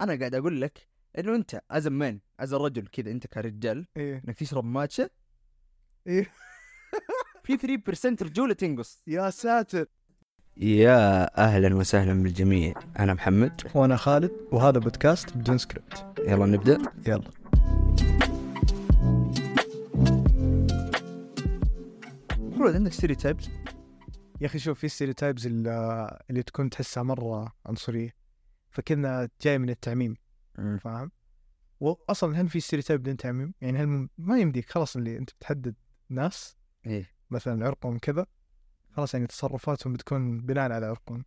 انا قاعد اقول لك انه انت از مان از رجل كذا انت كرجال ايه انك تشرب ماتشا إيه. في 3% رجوله تنقص يا ساتر يا اهلا وسهلا بالجميع انا محمد وانا خالد وهذا بودكاست بدون سكريبت يلا نبدا يلا المفروض عندك ستيريوتايبس يا اخي شوف في ستيريوتايبز اللي تكون تحسها مره عنصريه فكنا جاي من التعميم فاهم واصلا هل في ستيريوتايب بدون تعميم يعني هل م- ما يمديك خلاص اللي انت بتحدد ناس ايه مثلا عرقهم كذا خلاص يعني تصرفاتهم بتكون بناء على عرقهم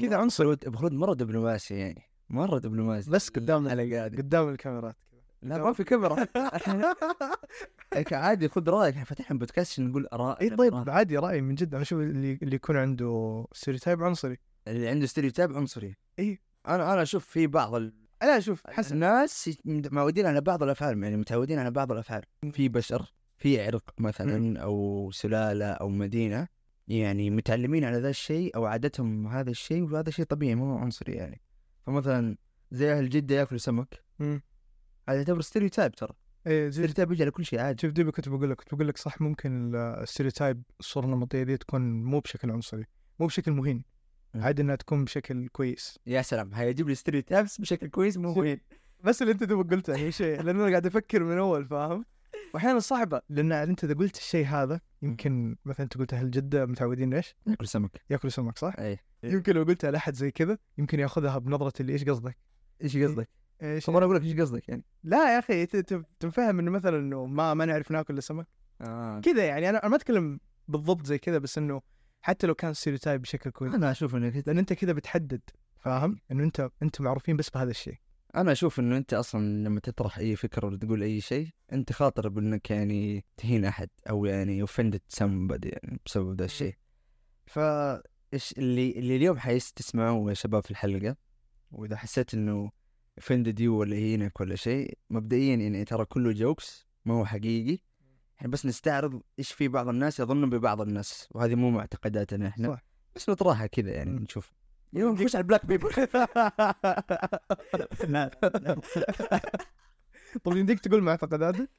كذا عنصر المفروض مره دبلوماسي يعني مره دبلوماسي بس قدامنا- انا قاعد قدام الكاميرات كذا لا ما في كاميرا عادي خذ رايك احنا فاتحين بودكاست عشان نقول اراء اي طيب عادي رايي من جد انا اشوف اللي اللي يكون عنده ستيريوتايب عنصري اللي عنده ستيريوتايب عنصري إيه. انا انا اشوف في بعض ال... انا اشوف حسن. حسب الناس يت- متعودين على بعض الافعال يعني متعودين على بعض الافعال في بشر في عرق مثلا او سلاله او مدينه يعني متعلمين على ذا الشيء او عادتهم هذا الشيء وهذا شيء طبيعي ما هو عنصري يعني فمثلا زي اهل جده ياكلوا سمك مم. هذا يعتبر ستيريوتايب ترى اي زي ستيريوتايب يجي على كل شيء عادي شوف دبي كنت بقول لك كنت بقول لك صح ممكن الستيريوتايب الصوره النمطيه دي تكون مو بشكل عنصري مو بشكل مهين مم. عادي انها تكون بشكل كويس يا سلام هيجيب لي ستيريوتايبس بشكل كويس مو وين بس اللي انت دوبك قلته هي شيء لان انا قاعد افكر من اول فاهم واحيانا صعبه لان انت اذا قلت الشيء إيه. هذا يمكن مثلا انت قلت اهل جده متعودين ايش؟ ياكل سمك ياكلوا سمك صح؟ اي يمكن لو قلتها لاحد زي كذا يمكن ياخذها بنظره اللي ايش قصدك؟ ايش قصدك؟ ايش طب انا اقول لك ايش قصدك يعني؟ لا يا اخي ت- ت- تنفهم انه مثلا انه ما ما نعرف ناكل الا سمك آه. كذا يعني انا أنا ما اتكلم بالضبط زي كذا بس انه حتى لو كان ستيريوتايب بشكل كويس انا اشوف انك لان انت كذا بتحدد فاهم؟ انه انت انت معروفين بس بهذا الشيء انا اشوف انه انت اصلا لما تطرح اي فكره ولا تقول اي شيء انت خاطر بانك يعني تهين احد او يعني اوفندت somebody يعني بسبب ذا الشيء ف ايش اللي اللي اليوم حيستسمعوه يا شباب في الحلقه واذا حسيت انه اوفندد يو ولا يهينك ولا شيء مبدئيا يعني ترى كله جوكس ما هو حقيقي احنا بس نستعرض ايش في بعض الناس يظنون ببعض الناس وهذه مو معتقداتنا احنا صح. بس نطرحها كذا يعني مم. نشوف يلا نخش على البلاك بيبل طب يمديك تقول معتقداتك؟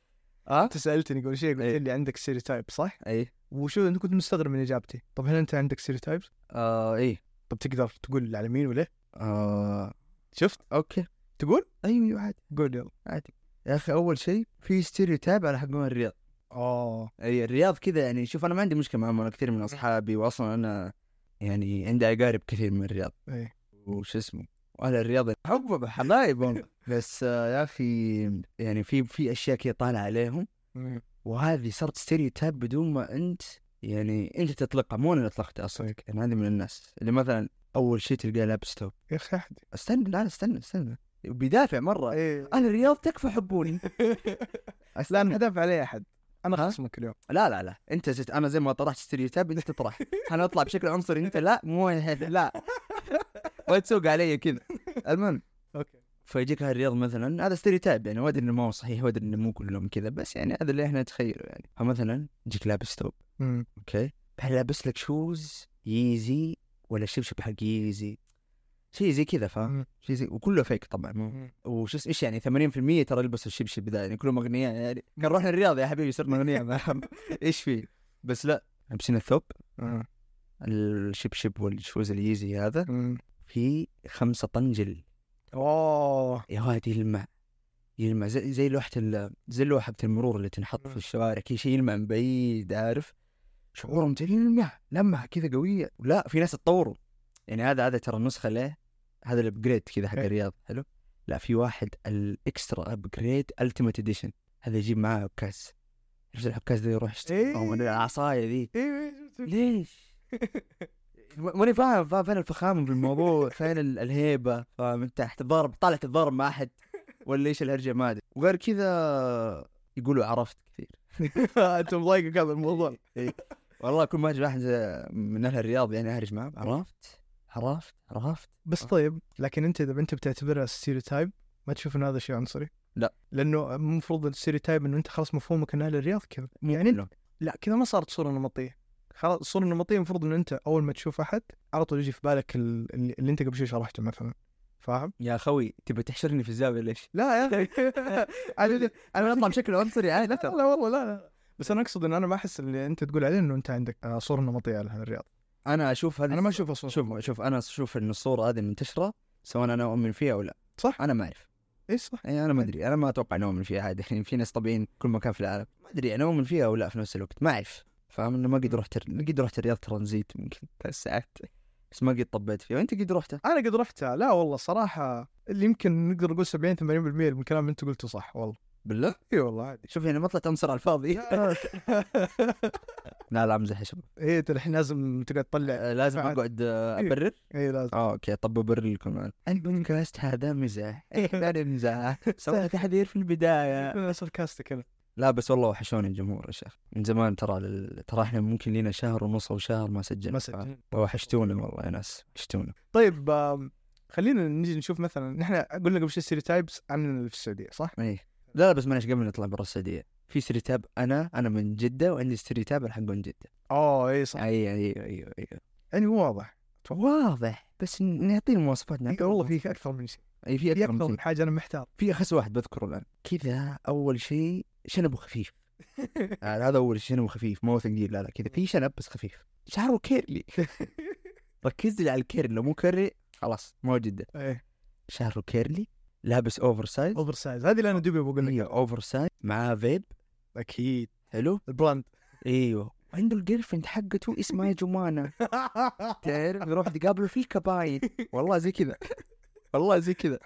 اه انت سالتني قبل شيء قلت إيه. لي عندك ستيريوتايب صح؟ اي وشو انت كنت مستغرب من اجابتي، طب هل انت عندك ستيريوتايب؟ آه ايه طب تقدر تقول على مين وليه؟ آه شفت؟ اوكي تقول؟ ايوه عادي قول يلا عادي يا اخي اول شيء في ستيريوتايب على حقون الرياض اه اي الرياض كذا يعني شوف انا ما عندي مشكله معهم انا كثير من اصحابي واصلا انا يعني عندي اقارب كثير من الرياض ايه وش اسمه واهل الرياض حبهم حبايب والله بس آه يا اخي يعني في في اشياء كذا طالعه عليهم مم. وهذه صارت ستيريوتايب بدون ما انت يعني انت تطلقها مو انا اللي اطلقتها اصلا طيب. يعني هذه من الناس اللي مثلا اول شيء تلقاه لابس توب يا اخي احد استنى لا استنى استنى بيدافع مره ايه اهل الرياض تكفى حبوني لا انا هدف علي احد ها؟ انا خصمك اليوم لا لا لا انت ست... انا زي ما طرحت ستيريوتايب انت تطرح حنطلع بشكل عنصري انت لا مو هذا، لا ما تسوق علي كذا المهم اوكي فيجيك أهل الرياض مثلا هذا ستيريوتايب يعني وادري انه ما هو صحيح وادري انه مو كلهم كذا بس يعني هذا اللي احنا نتخيله يعني فمثلا يجيك لابس توب مم. اوكي بعدين لابس لك شوز ييزي ولا شبشب حق ييزي شيء زي كذا فاهم مم. شيء زي وكله فيك طبعا مو مم. وش اس- ايش يعني 80% ترى يلبسوا الشبشب ذا يعني كلهم اغنياء يعني كان رحنا الرياض يا حبيبي صرنا اغنياء ما- ايش في بس لا لابسين الثوب مم. الشبشب والشوز اليزي هذا مم. في خمسة طنجل اوه يا واد إيه، يلمع يلمع زي, زي لوحة ال- زي لوحة المرور اللي تنحط في الشوارع كذا شيء يلمع من بعيد عارف شعورهم جاي يلمع لمعة كذا قوية لا في ناس تطوروا يعني هذا هذا ترى نسخة له هذا الابجريد كذا حق إيه. الرياض حلو لا في واحد الاكسترا ابجريد التيمت اديشن هذا يجيب معاه عكاز عرفت العكاز ذي يروح يشتري او إيه. العصاية ذي ايوه ليش؟ م- ماني فاهم فاهم فين الفخامه بالموضوع فين ال- الهيبه فاهم انت تتضارب طالع تتضارب مع احد ولا ايش الهرجه ما ادري وغير كذا يقولوا عرفت كثير انت مضايقك هذا الموضوع إيه. والله كل ما اجي واحد زي- من اهل الرياض يعني اهرج معاه عرفت عرفت عرفت بس آه. طيب لكن انت اذا انت بتعتبرها ستيريوتايب ما تشوف ان هذا شيء عنصري؟ لا. لانه المفروض الستيريوتايب انه انت خلاص مفهومك ان اهل الرياض كذا، يعني انت لا. لا كذا ما صارت صوره نمطيه. خلاص الصوره النمطيه المفروض انه انت اول ما تشوف احد على طول يجي في بالك ال- اللي, اللي انت قبل شوي شرحته مثلا. فاهم؟ يا اخوي تبي تحشرني في الزاويه ليش؟ لا يا اخي انا انا بطلع بشكل عنصري عادي لا لا والله لا لا بس انا اقصد ان انا ما احس اللي انت تقول عليه انه انت عندك آه، صوره نمطيه على هذا الرياض انا اشوف هذه انا ما اشوفها صوره شوف شوف انا اشوف ان الصوره هذه منتشره سواء انا اؤمن فيها او لا صح انا ما اعرف اي صح يعني انا ما ادري انا ما اتوقع اني اؤمن فيها عادي يعني في ناس طبيعيين كل مكان في العالم ما ادري انا اؤمن فيها او لا في نفس الوقت ما اعرف فاهم انه ما قد رحت قد رحت الرياض ترانزيت يمكن ثلاث ساعات بس ما قد طبيت فيها وانت قد رحتها انا قد رحتها لا والله صراحه اللي يمكن نقدر نقول 70 80% من الكلام اللي انت قلته صح والله إيه، بالله اي والله عادي شوف يعني ما طلعت انصر على الفاضي لا لا امزح يا شباب هي ترى احنا إيه، لازم تقعد تطلع آه، لازم فعل. اقعد آه، إيه. ابرر اي لازم اه اوكي طب ابرر لكم إيه. الان البودكاست هذا مزاح احنا نمزح سوينا تحذير في البدايه ساركاستك انا لا بس والله وحشوني الجمهور يا شيخ من زمان ترى لل- ترى احنا ممكن لينا شهر ونص او شهر ما سجلنا ما سجلنا. ف- وحشتونا والله يا ناس وحشتونا طيب آم، خلينا نجي نشوف مثلا نحن قلنا قبل شوي ستيريوتايبس عننا اللي في السعوديه صح؟ ايه لا بس معلش قبل نطلع برا السعوديه في ستريتاب انا انا من جده وعندي ستريتاب الحق من جده اوه اي إيه، صح ايوه ايوه ايوه ايوه يعني هو واضح واضح بس ن- نعطيه المواصفات إي نعطيه والله في اكثر من شيء اي في اكثر في اكثر من شيء. يعني من حاجه انا محتار في اخس واحد بذكره الان كذا اول شيء شنبه خفيف يعني هذا اول شيء شنبه خفيف ما هو ثقيل لا لا كذا في شنب بس خفيف شعره كيرلي ركز لي على الكيرلي لو مو كيرلي خلاص ما هو جده ايه شعره كيرلي لابس اوفر سايز اوفر سايز هذه اللي انا دوبي بقول لك هي اوفر سايز معاه فيب اكيد حلو البراند ايوه وعنده الجيرل فريند حقته اسمها جمانه تعرف يروح تقابله في كباين والله زي كذا والله زي كذا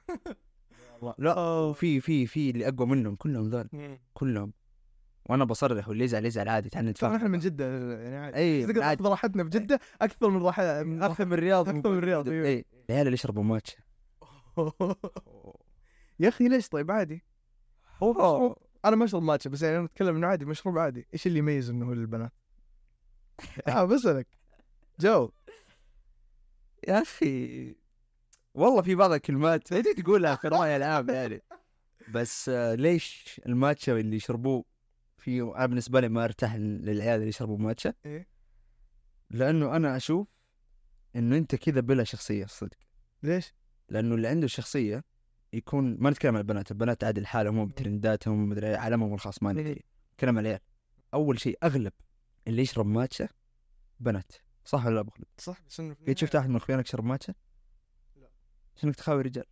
لا في في في اللي اقوى منهم كلهم ذول كلهم وانا بصرح واللي يزعل يزعل عادي تعال ترى احنا نتفاهم من جده يعني عادي اي صدق عادي ناخذ راحتنا في جده اكثر من راحه من اكثر من الرياض أكثر من الرياض، أيوة. اي العيال اللي يشربوا ماتش إيه. يا اخي ليش طيب عادي هو مشروب انا ما اشرب ماتشا بس يعني انا اتكلم انه عادي مشروب عادي ايش اللي يميز انه هو للبنات؟ اه بسالك جاوب يا اخي والله في بعض الكلمات انت تقولها في الراي العام يعني بس آه، ليش الماتشا اللي يشربوه في انا بالنسبه لي ما ارتاح للعيال اللي يشربوا ماتشا إيه. لانه انا اشوف انه انت كذا بلا شخصيه صدق ليش؟ لانه اللي عنده شخصيه يكون ما نتكلم عن البنات البنات عادي لحالهم هم بترنداتهم ومدري إيه، عالمهم الخاص ما ندري نتكلم عن العيال اول شيء اغلب اللي يشرب ماتشا بنات صح ولا لا أبو خلود؟ صح بس انه قد شفت احد من اخوانك شرب ماتشا؟ لا. شنك تخاوي رجال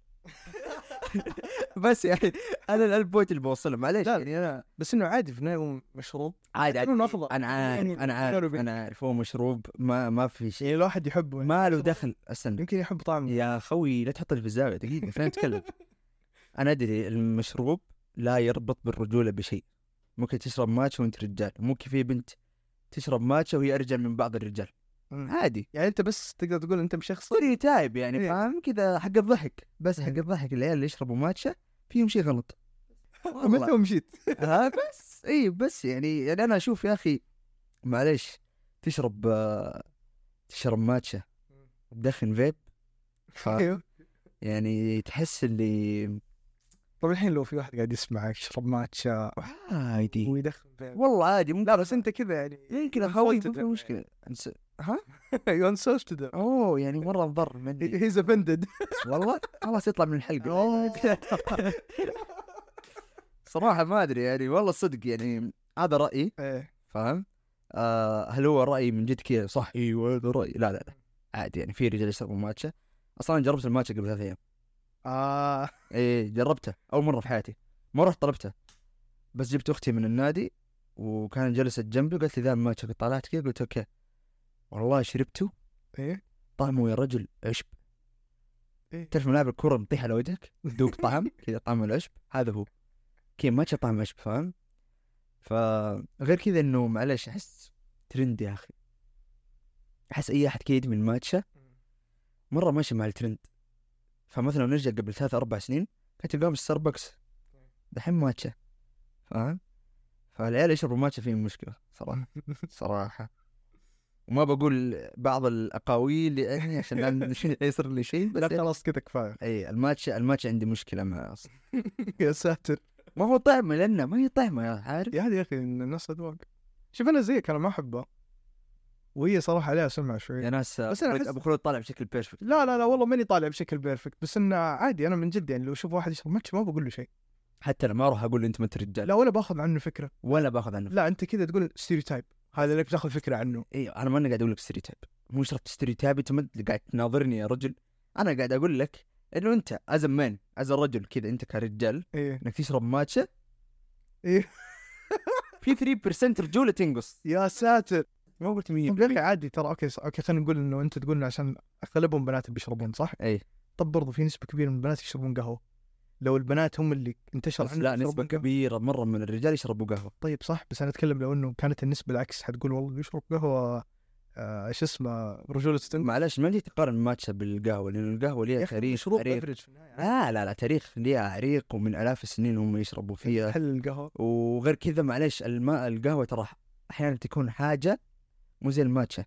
بس يعني انا الآن البوينت اللي بوصله معليش لا. يعني انا بس انه عادي في النهايه هو مشروب عادي عادي لأنه أفضل. انا عارف يعني انا عارف كانوا انا عارف هو مشروب ما ما في شيء يعني لو احد يحبه يعني. ما له دخل استنى يمكن يحب طعمه يا خوي لا تحطني في الزاويه دقيقه خلينا نتكلم انا ادري المشروب لا يربط بالرجوله بشيء ممكن تشرب ماتشا وانت رجال ممكن في بنت تشرب ماتشا وهي ارجل من بعض الرجال مم. عادي يعني انت بس تقدر تقول انت بشخص ستيريو تايب يعني إيه. فاهم كذا حق الضحك بس حق إيه. الضحك العيال اللي يشربوا ماتشا فيهم شيء غلط متى والله ومشيت ها بس اي بس يعني يعني انا اشوف يا اخي معليش تشرب آه، تشرب ماتشا تدخن فيب ف ايوه يعني تحس اللي طب الحين لو في واحد قاعد يسمعك يشرب ماتشا عادي ويدخن فيها. والله عادي ممكن لا إيه. بس انت كذا يعني يمكن اخوي insulted ما في them. مشكله أنس- ها يو انسوشتد اوه يعني مره انضر مني هيز افندد والله خلاص يطلع من الحلقه صراحه ما ادري يعني والله صدق يعني هذا رايي ايه فاهم آه هل هو رايي من جد كذا صح ايوه هذا رايي لا لا لا عادي يعني في رجال يشربوا ماتشا اصلا أنا جربت الماتشا قبل ثلاث ايام اه ايه جربته اول مره في حياتي ما رحت طلبته بس جبت اختي من النادي وكانت جلست جنبي وقالت لي ذا الماتشا قلت طلعت كذا قلت اوكي والله شربته ايه طعمه يا رجل عشب إيه. تعرف ملاعب الكره مطيح على وجهك دوق طعم كذا طعم العشب هذا هو كذا ماتشا طعم عشب فاهم فغير كذا انه معلش احس ترند يا اخي احس اي احد كذا يدمن ماتشا مره ماشي مع الترند فمثلا لو نرجع قبل ثلاث اربع سنين كنت تلقاهم في ستاربكس طيب. دحين ماتشا فاهم فالعيال يشربوا ماتشا فيهم مشكله صراحه صراحه وما بقول بعض الاقاويل يعني عشان لا يصير لي شيء لا بس خلاص كذا كفايه اي الماتشا الماتشا عندي مشكله معه اصلا يا ساتر ما هو طعمه لانه ما هي طعمه يا عارف يا هذا يا اخي الناس اذواق شوف انا زيك انا ما احبه وهي صراحه عليها سمعه شوي يا ناس بس بس أنا انا أحس- ابو خلود طالع بشكل بيرفكت لا لا لا والله ماني طالع بشكل بيرفكت بس انه عادي انا من جد يعني لو اشوف واحد يشرب ماتش ما بقول له شيء حتى انا ما اروح اقول له انت ما انت رجال لا ولا باخذ عنه فكره ولا باخذ عنه لا انت كذا تقول ستيريوتايب هذا لك بتاخذ فكره عنه ايوه انا ماني قاعد اقول لك ستيريوتايب مو شرط ستيريوتايب انت ما أنت قاعد تناظرني يا رجل انا قاعد اقول لك انه انت از مان از رجل كذا انت كرجال ايه انك تشرب ماتشا إيه. في 3% رجوله تنقص يا ساتر ما قلت طب 100 يا اخي عادي ترى اوكي صح. اوكي خلينا نقول انه انت تقول إنه عشان اغلبهم بنات بيشربون صح؟ إيه. طب برضو في نسبه كبيره من البنات يشربون قهوه لو البنات هم اللي انتشر بس لا عندهم نسبه يشربون قهوة. كبيره مره من الرجال يشربوا قهوه طيب صح بس انا اتكلم لو انه كانت النسبه العكس حتقول والله اللي يشرب قهوه آه شو اسمه رجوله تنقل معلش ما تجي تقارن ماتشا بالقهوه لان القهوه ليها تاريخ مشروب عريق بفرج في النهايه لا لا لا تاريخ ليها عريق ومن الاف السنين هم يشربوا فيها حل القهوه وغير كذا معليش الماء القهوه ترى احيانا تكون حاجه مو زي الماتشا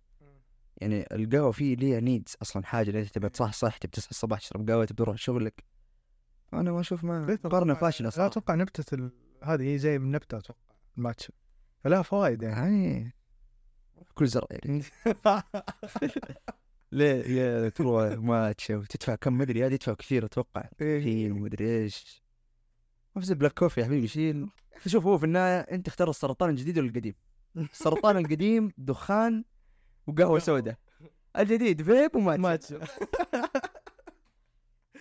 يعني القهوه فيه ليها نيدز اصلا حاجه اللي أيوة. انت تبي تصحصح تبي تصحى الصباح تشرب قهوه تبي تروح شغلك انا ما اشوف ما ليه ترى مقارنه أتوقع- فاشله لا صراحه اتوقع نبته ال... هذه هي زي النبته اتوقع الماتش فلها فوائد يعني هاي كل زرع يعني ليه يا تروح ماتشا وتدفع كم مدري هذه يدفع كثير اتوقع شيل ومدري ايش نفس البلاك كوفي يا حبيبي شيل يا أخي شوف هو في النهايه انت اختار السرطان الجديد ولا القديم السرطان القديم دخان وقهوه سوداء الجديد فيب وماتش ماتش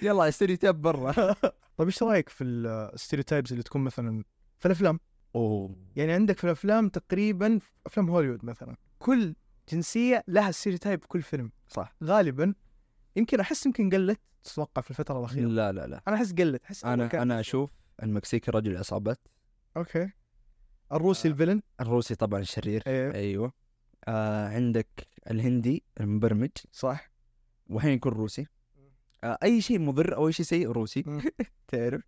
يلا اشتري تاب برا طيب ايش رايك في الستيريوتايبز اللي تكون مثلا في الافلام اوه يعني عندك في الافلام تقريبا في افلام هوليوود مثلا كل جنسيه لها ستيريوتايب في كل فيلم صح غالبا يمكن احس يمكن قلت تتوقع في الفتره الاخيره لا لا لا انا احس قلت احس أول انا كان انا في شوي. اشوف المكسيكي رجل عصابات اوكي الروسي آه. الفيلن الروسي طبعا شرير ايه ايوه آه عندك الهندي المبرمج صح واحيانا يكون روسي آه اي شيء مضر او اي شيء سيء روسي مم. تعرف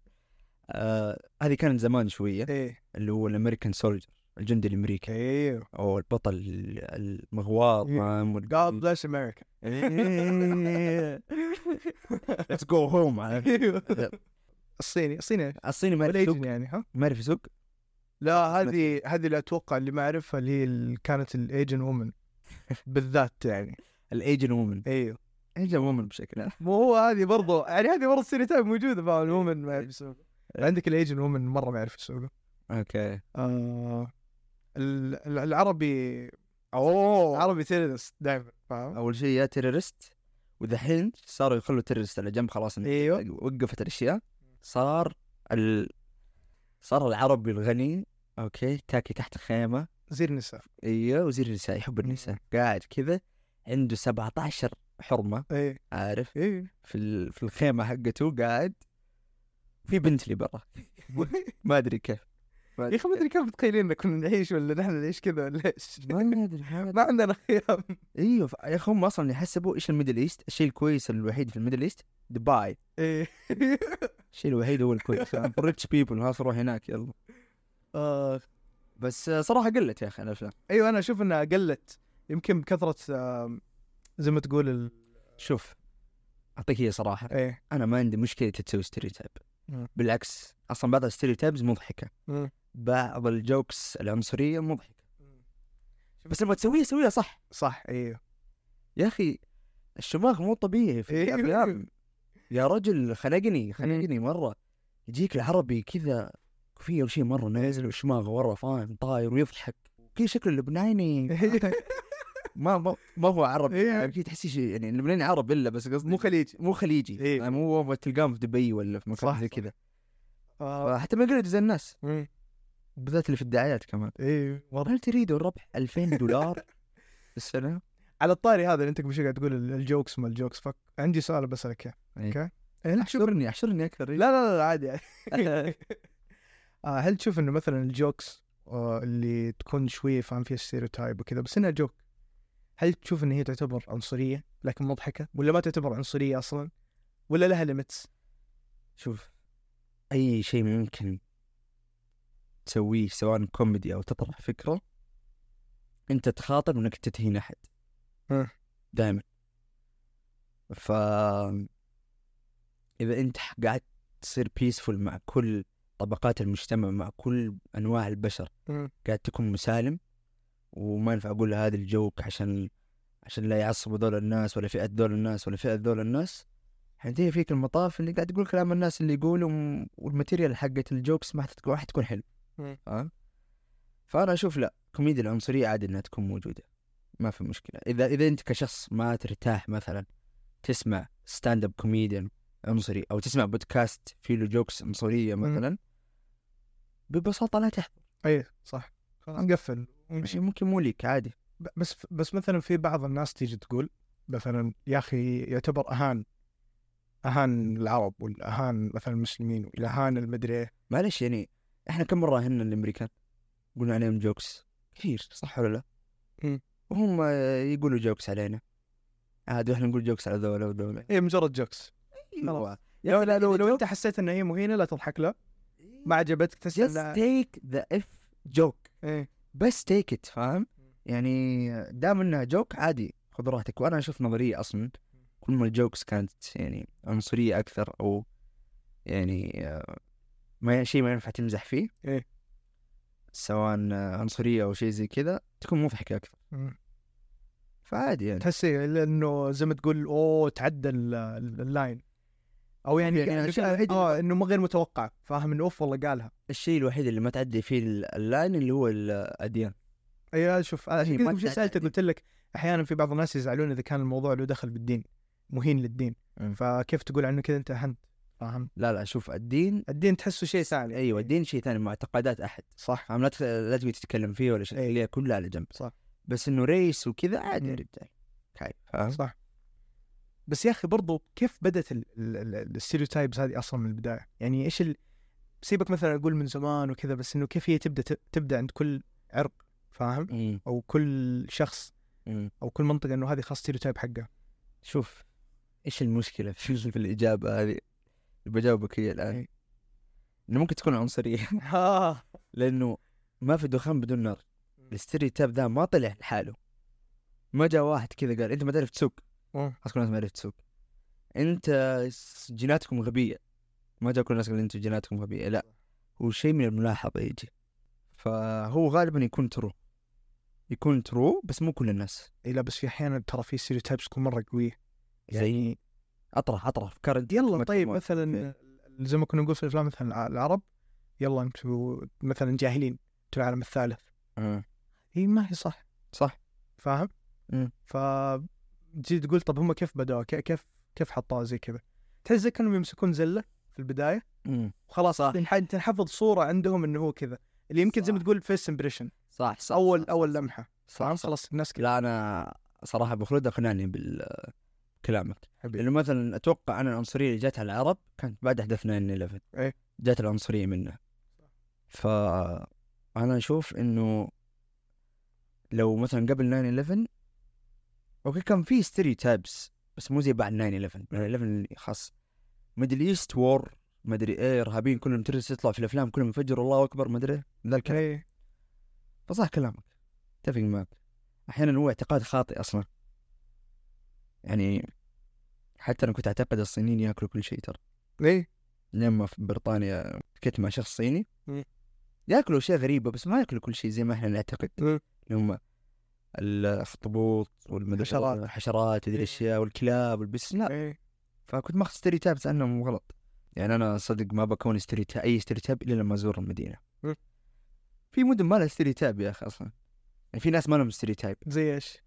آه هذه كانت زمان شويه ايه اللي هو الامريكان سولجر الجندي الامريكي ايوه او البطل المغواط فاهم وال- God bless America ليتس جو هوم أيوه. الصيني الصيني الصيني ما يعرف ولا يسوق يجن يعني ها ما يعرف يسوق لا هذه هذه اللي اتوقع اللي ما اعرفها اللي هي ال- كانت الايجن وومن بالذات يعني الايجن وومن ايوه ايجن وومن بشكل عام مو هو هذه برضه يعني هذه برضه ستيريوتايب موجوده مع الومن ما يعرف يسوقه عندك الايجن وومن مره ما يعرف يسوقه اوكي آه ال- ال- العربي اوه العربي تيرنس دائما فاهم اول شيء يا تيررست ودحين صاروا يخلوا تيررست على جنب خلاص ايوه وقفت الاشياء صار ال... صار العربي الغني اوكي تاكي تحت خيمه زير نساء ايوه وزير النساء يحب النساء قاعد كذا عنده 17 حرمه ايه عارف ايه في ال- في الخيمه حقته قاعد في بنت لي برا ما ادري كيف ما يا اخي ما ادري كيف متخيلين إن كنا نعيش ولا نحن نعيش كذا ولا ايش ما ادري ما ما عندنا خيام ايوه ف- يا اخي هم اصلا يحسبوا ايش الميدل ايست الشيء الكويس الوحيد في الميدل ايست دبي ايه الشيء الوحيد هو الكويس ريتش بيبل خلاص روح هناك يلا اخ بس آه، صراحه قلت يا اخي الافلام ايوه انا اشوف انها قلت يمكن بكثره آم، زي ما تقول ال... شوف اعطيك هي صراحه ايه انا ما عندي مشكله تسوي ستيريوتايب مم. بالعكس اصلا بعض الستيريوتايبز مضحكه مم. بعض الجوكس العنصريه مضحكه بس لما تسويها سويها صح صح ايوه يا اخي الشماخ مو طبيعي في إيوه. الافلام يا رجل خنقني خنقني مره يجيك العربي كذا كوفيه وشي مره نازل وشماغه ورا فاهم طاير ويضحك كذا شكله لبناني ما ما, ما هو عربي إيه. يعني كذا تحسي شيء يعني اللبناني عرب الا بس قصدي مو خليجي مو خليجي إيه. يعني مو مو تلقاهم في دبي ولا في مكان صح، زي صح. كذا آه، فحتى ما قلت زي الناس مم. بالذات اللي في الدعايات كمان ايوه واضح هل تريدوا الربح 2000 دولار في السنه؟ على الطاري هذا اللي انت قبل شوي قاعد تقول ال- الجوكس ما الجوكس فك عندي سؤال بسالك اياه إيه. اوكي إيه، لا شوف احشرني احشرني اكثر لا لا لا عادي عادي. آه، هل تشوف انه مثلا الجوكس آه، اللي تكون شويه فاهم فيها ستيريوتايب وكذا بس انها جوك هل تشوف ان هي تعتبر عنصريه لكن مضحكه ولا ما تعتبر عنصريه اصلا ولا لها ليمتس؟ شوف اي شيء ممكن تسويه سواء كوميدي او تطرح فكره انت تخاطر انك تتهين احد مم. دائما ف اذا انت قاعد تصير بيسفول مع كل طبقات المجتمع مع كل انواع البشر مم. قاعد تكون مسالم وما ينفع اقول له هذا الجوك عشان عشان لا يعصبوا دول الناس ولا فئه دول الناس ولا فئه دول الناس حينتهي يعني فيك المطاف اللي قاعد تقول كلام الناس اللي يقوله وم- والماتيريال حقت الجوكس ما حتكون ما حتكون حلو مم. فاهم؟ فانا اشوف لا الكوميديا العنصريه عادي انها تكون موجوده ما في مشكله اذا اذا انت كشخص ما ترتاح مثلا تسمع ستاند اب كوميديان عنصري او تسمع بودكاست فيه له جوكس عنصريه مم. مثلا ببساطه لا تحضر اي صح خلاص نقفل ونمشي ممكن مو ليك عادي ب- بس بس مثلا في بعض الناس تيجي تقول مثلا يا اخي يعتبر اهان اهان العرب والاهان مثلا المسلمين والاهان المدري إيه. معلش يعني احنا كم مره هنا الامريكان قلنا عليهم جوكس كثير صح ولا لا؟ مم. وهم يقولوا جوكس علينا عادي احنا نقول جوكس على ذولا وذولا هي مجرد جوكس خلاص. لو لا لو, لو انت حسيت ان هي مهينه لا تضحك له أيوة. ما عجبتك just تسال take the F joke ايه بس take it فاهم؟ يعني دام انها جوك عادي خذ راحتك وانا اشوف نظريه اصلا كل ما الجوكس كانت يعني عنصريه اكثر او يعني آه، ما شيء ما ينفع تمزح فيه إيه. سواء آه، عنصريه او شيء زي كذا تكون مضحكه اكثر مم. فعادي يعني تحس إيه، لانه زي ما تقول اوه تعدى ال- ال- اللاين او يعني يعني يعني الشيء الوحيد اه انه مو غير متوقع فاهم انه اوف والله قالها الشيء الوحيد اللي ما تعدي فيه ال- اللاين اللي هو الاديان اي شوف انا عشان إيه، كذا ما قبل شوي تدعي سالتك تعديل. قلت لك احيانا في بعض الناس يزعلون اذا كان الموضوع له دخل بالدين مهين للدين أمم. فكيف تقول عنه كذا انت اهنت فاهم لا لا شوف الدين الدين تحسه شيء ثاني ايوه الدين شيء ثاني معتقدات احد صح فاهم لا تخ- لا تبي تتكلم فيه ولا شيء أيوة. خليها كلها على جنب صح. بس انه ريس وكذا عادي يا مم. رجال عادي، فاهم يعني، صح بس يا اخي برضو كيف بدت الستيريوتايبس هذه اصلا من البدايه يعني ايش ال... سيبك مثلا اقول من زمان وكذا بس انه كيف هي تبدا تبدا عند كل عرق فاهم مم. او كل شخص مم. او كل منطقه انه هذه خاص ستيريوتايب حقه شوف ايش المشكله في في الاجابه هذه اللي بجاوبك هي الان إيه. انه ممكن تكون عنصريه ها لانه ما في دخان بدون نار الاستريوتاب ذا ما طلع لحاله ما جاء واحد كذا قال انت ما تعرف تسوق أوه. خلاص كل الناس ما عرفت تسوق انت س- جيناتكم غبيه ما جاء كل الناس قال انتم جيناتكم غبيه لا هو شيء من الملاحظه يجي فهو غالبا يكون ترو يكون ترو بس مو كل الناس إيه لا بس في احيانا ترى في ستيريوتايبس تكون مره قويه زي اطرح اطرح افكار انت يلا ما إيه. طيب تكون- مثلا زي ما كنا نقول في الافلام مثلا الع- العرب يلا انتوا مثلا جاهلين انتوا العالم الثالث آه، هي ما هي صح صح إيه. فاهم؟ مم. ف تجي تقول طب هم كيف بدأوا كي- كيف كيف حطوها زي كذا؟ تحس زي كانهم يمسكون زله في البدايه مم. وخلاص صح. تنح- تنحفظ صوره عندهم انه هو كذا اللي يمكن زي ما صح. تقول فيس امبريشن صح صح اول صح، اول صح، لمحه صح فاهم؟ صح خلاص الناس كذا لا انا صراحه ابو خلود اقنعني بكلامك حبيبي. لانه مثلا اتوقع انا العنصريه اللي جت على العرب كانت بعد احداث 9 11 إيه. جت العنصريه منه ف انا اشوف انه لو مثلا قبل 9 11 اوكي كان في ستيريو تايبس بس مو زي بعد 9 11 9 11 خاص ميدل ايست وور مدري ايه ارهابيين كلهم ترس يطلع في الافلام كلهم ينفجروا الله اكبر مدري إيه. ذا الكلام إيه. فصح كلامك اتفق معك احيانا هو اعتقاد خاطئ اصلا يعني حتى انا كنت اعتقد الصينيين ياكلوا كل شيء ترى ايه لما في بريطانيا كنت مع شخص صيني مم. ياكلوا اشياء غريبه بس ما ياكلوا كل شيء زي ما احنا نعتقد مم. اللي هم الاخطبوط والمدري حشرات. الحشرات هذه إيه. الاشياء والكلاب والبس لا ايه فكنت ماخذ ستيريوتايبس عنهم غلط يعني انا صدق ما بكون ستيريوتايب اي ستيريوتايب الا لما ازور المدينه مم. في مدن ما لها ستيريوتايب يا اخي اصلا يعني في ناس ما لهم ستيريوتايب زي ايش؟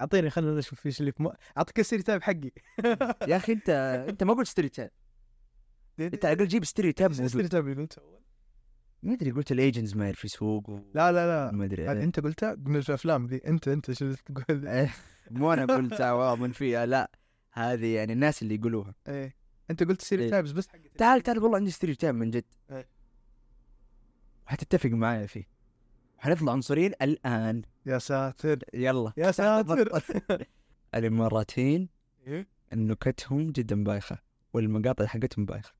اعطيني خلينا نشوف ايش اللي في م... اعطيك الستيريوتايب حقي يا اخي انت انت ما قلت ستيريوتايب انت على الاقل جيب ستيريوتايب موجود الستيريوتايب اللي قلته اول ما ادري قلت الايجنز ما يعرف يسوق و- لا لا لا ما ادري هذه إيه. انت قلتها من الافلام ذي انت انت شو اللي تقول إيه، مو انا قلت آه، من فيها لا هذه يعني الناس اللي يقولوها ايه انت قلت ستيريوتايبس بس حق تعال تعال والله عندي ستيريوتايب من جد إيه. وحتتفق معايا فيه حنطلع عنصريين الان يا ساتر يلا يا ساتر الاماراتيين إيه؟ نكتهم جدا بايخه والمقاطع حقتهم بايخه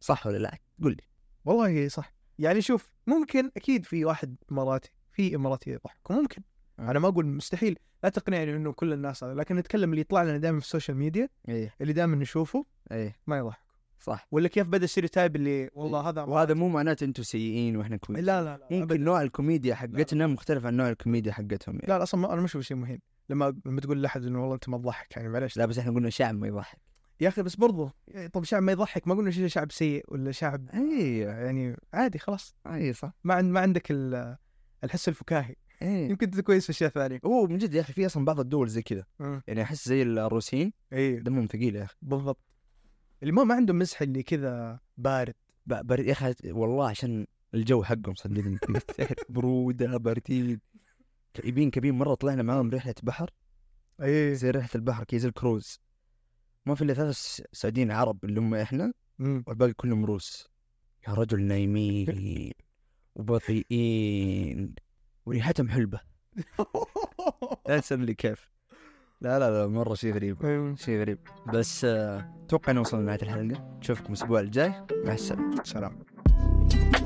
صح ولا لا؟ قول لي والله صح يعني شوف ممكن اكيد في واحد اماراتي في اماراتي يضحك ممكن أه. انا ما اقول مستحيل لا تقنعني انه كل الناس هذا لكن نتكلم اللي يطلع لنا دائما في السوشيال ميديا ايه اللي دائما نشوفه ايه ما يضحك صح ولا كيف بدا الستيريوتايب اللي والله هذا وهذا مو معناته انتم سيئين واحنا كويسين لا لا لا ممكن أبداً. نوع الكوميديا حقتنا مختلف عن نوع الكوميديا حقتهم يعني. لا لا اصلا ما- انا ما اشوف شيء مهم لما لما تقول لاحد انه والله انت ما تضحك يعني معلش لا بس احنا قلنا شعب ما يضحك يا اخي بس برضه طب شعب ما يضحك ما قلنا شيء شعب سيء ولا شعب اي يعني عادي خلاص اي صح ما عند ما عندك ال- الحس الفكاهي اي يمكن انت كويس في اشياء ثانيه إيه. هو من جد يا اخي في اصلا بعض الدول زي كذا مم. يعني احس زي الروسيين اي دمهم ثقيل يا اخي بالضبط اللي ما ما عندهم مزح اللي كذا بارد ب- برد يا اخي والله عشان الجو حقهم صدقني بروده باردين كئيبين كئيبين مره طلعنا معاهم رحله بحر اي زي رحله البحر كي زي الكروز ما في الا ثلاث س- سعوديين عرب اللي هم احنا والباقي كلهم روس يا رجل نايمين وبطيئين وريحتهم حلبه لا تسألني لي كيف لا لا لا مره شيء غريب شيء غريب بس آه، اتوقع انه وصلنا لنهايه الحلقه نشوفكم الاسبوع الجاي مع السلامه سلام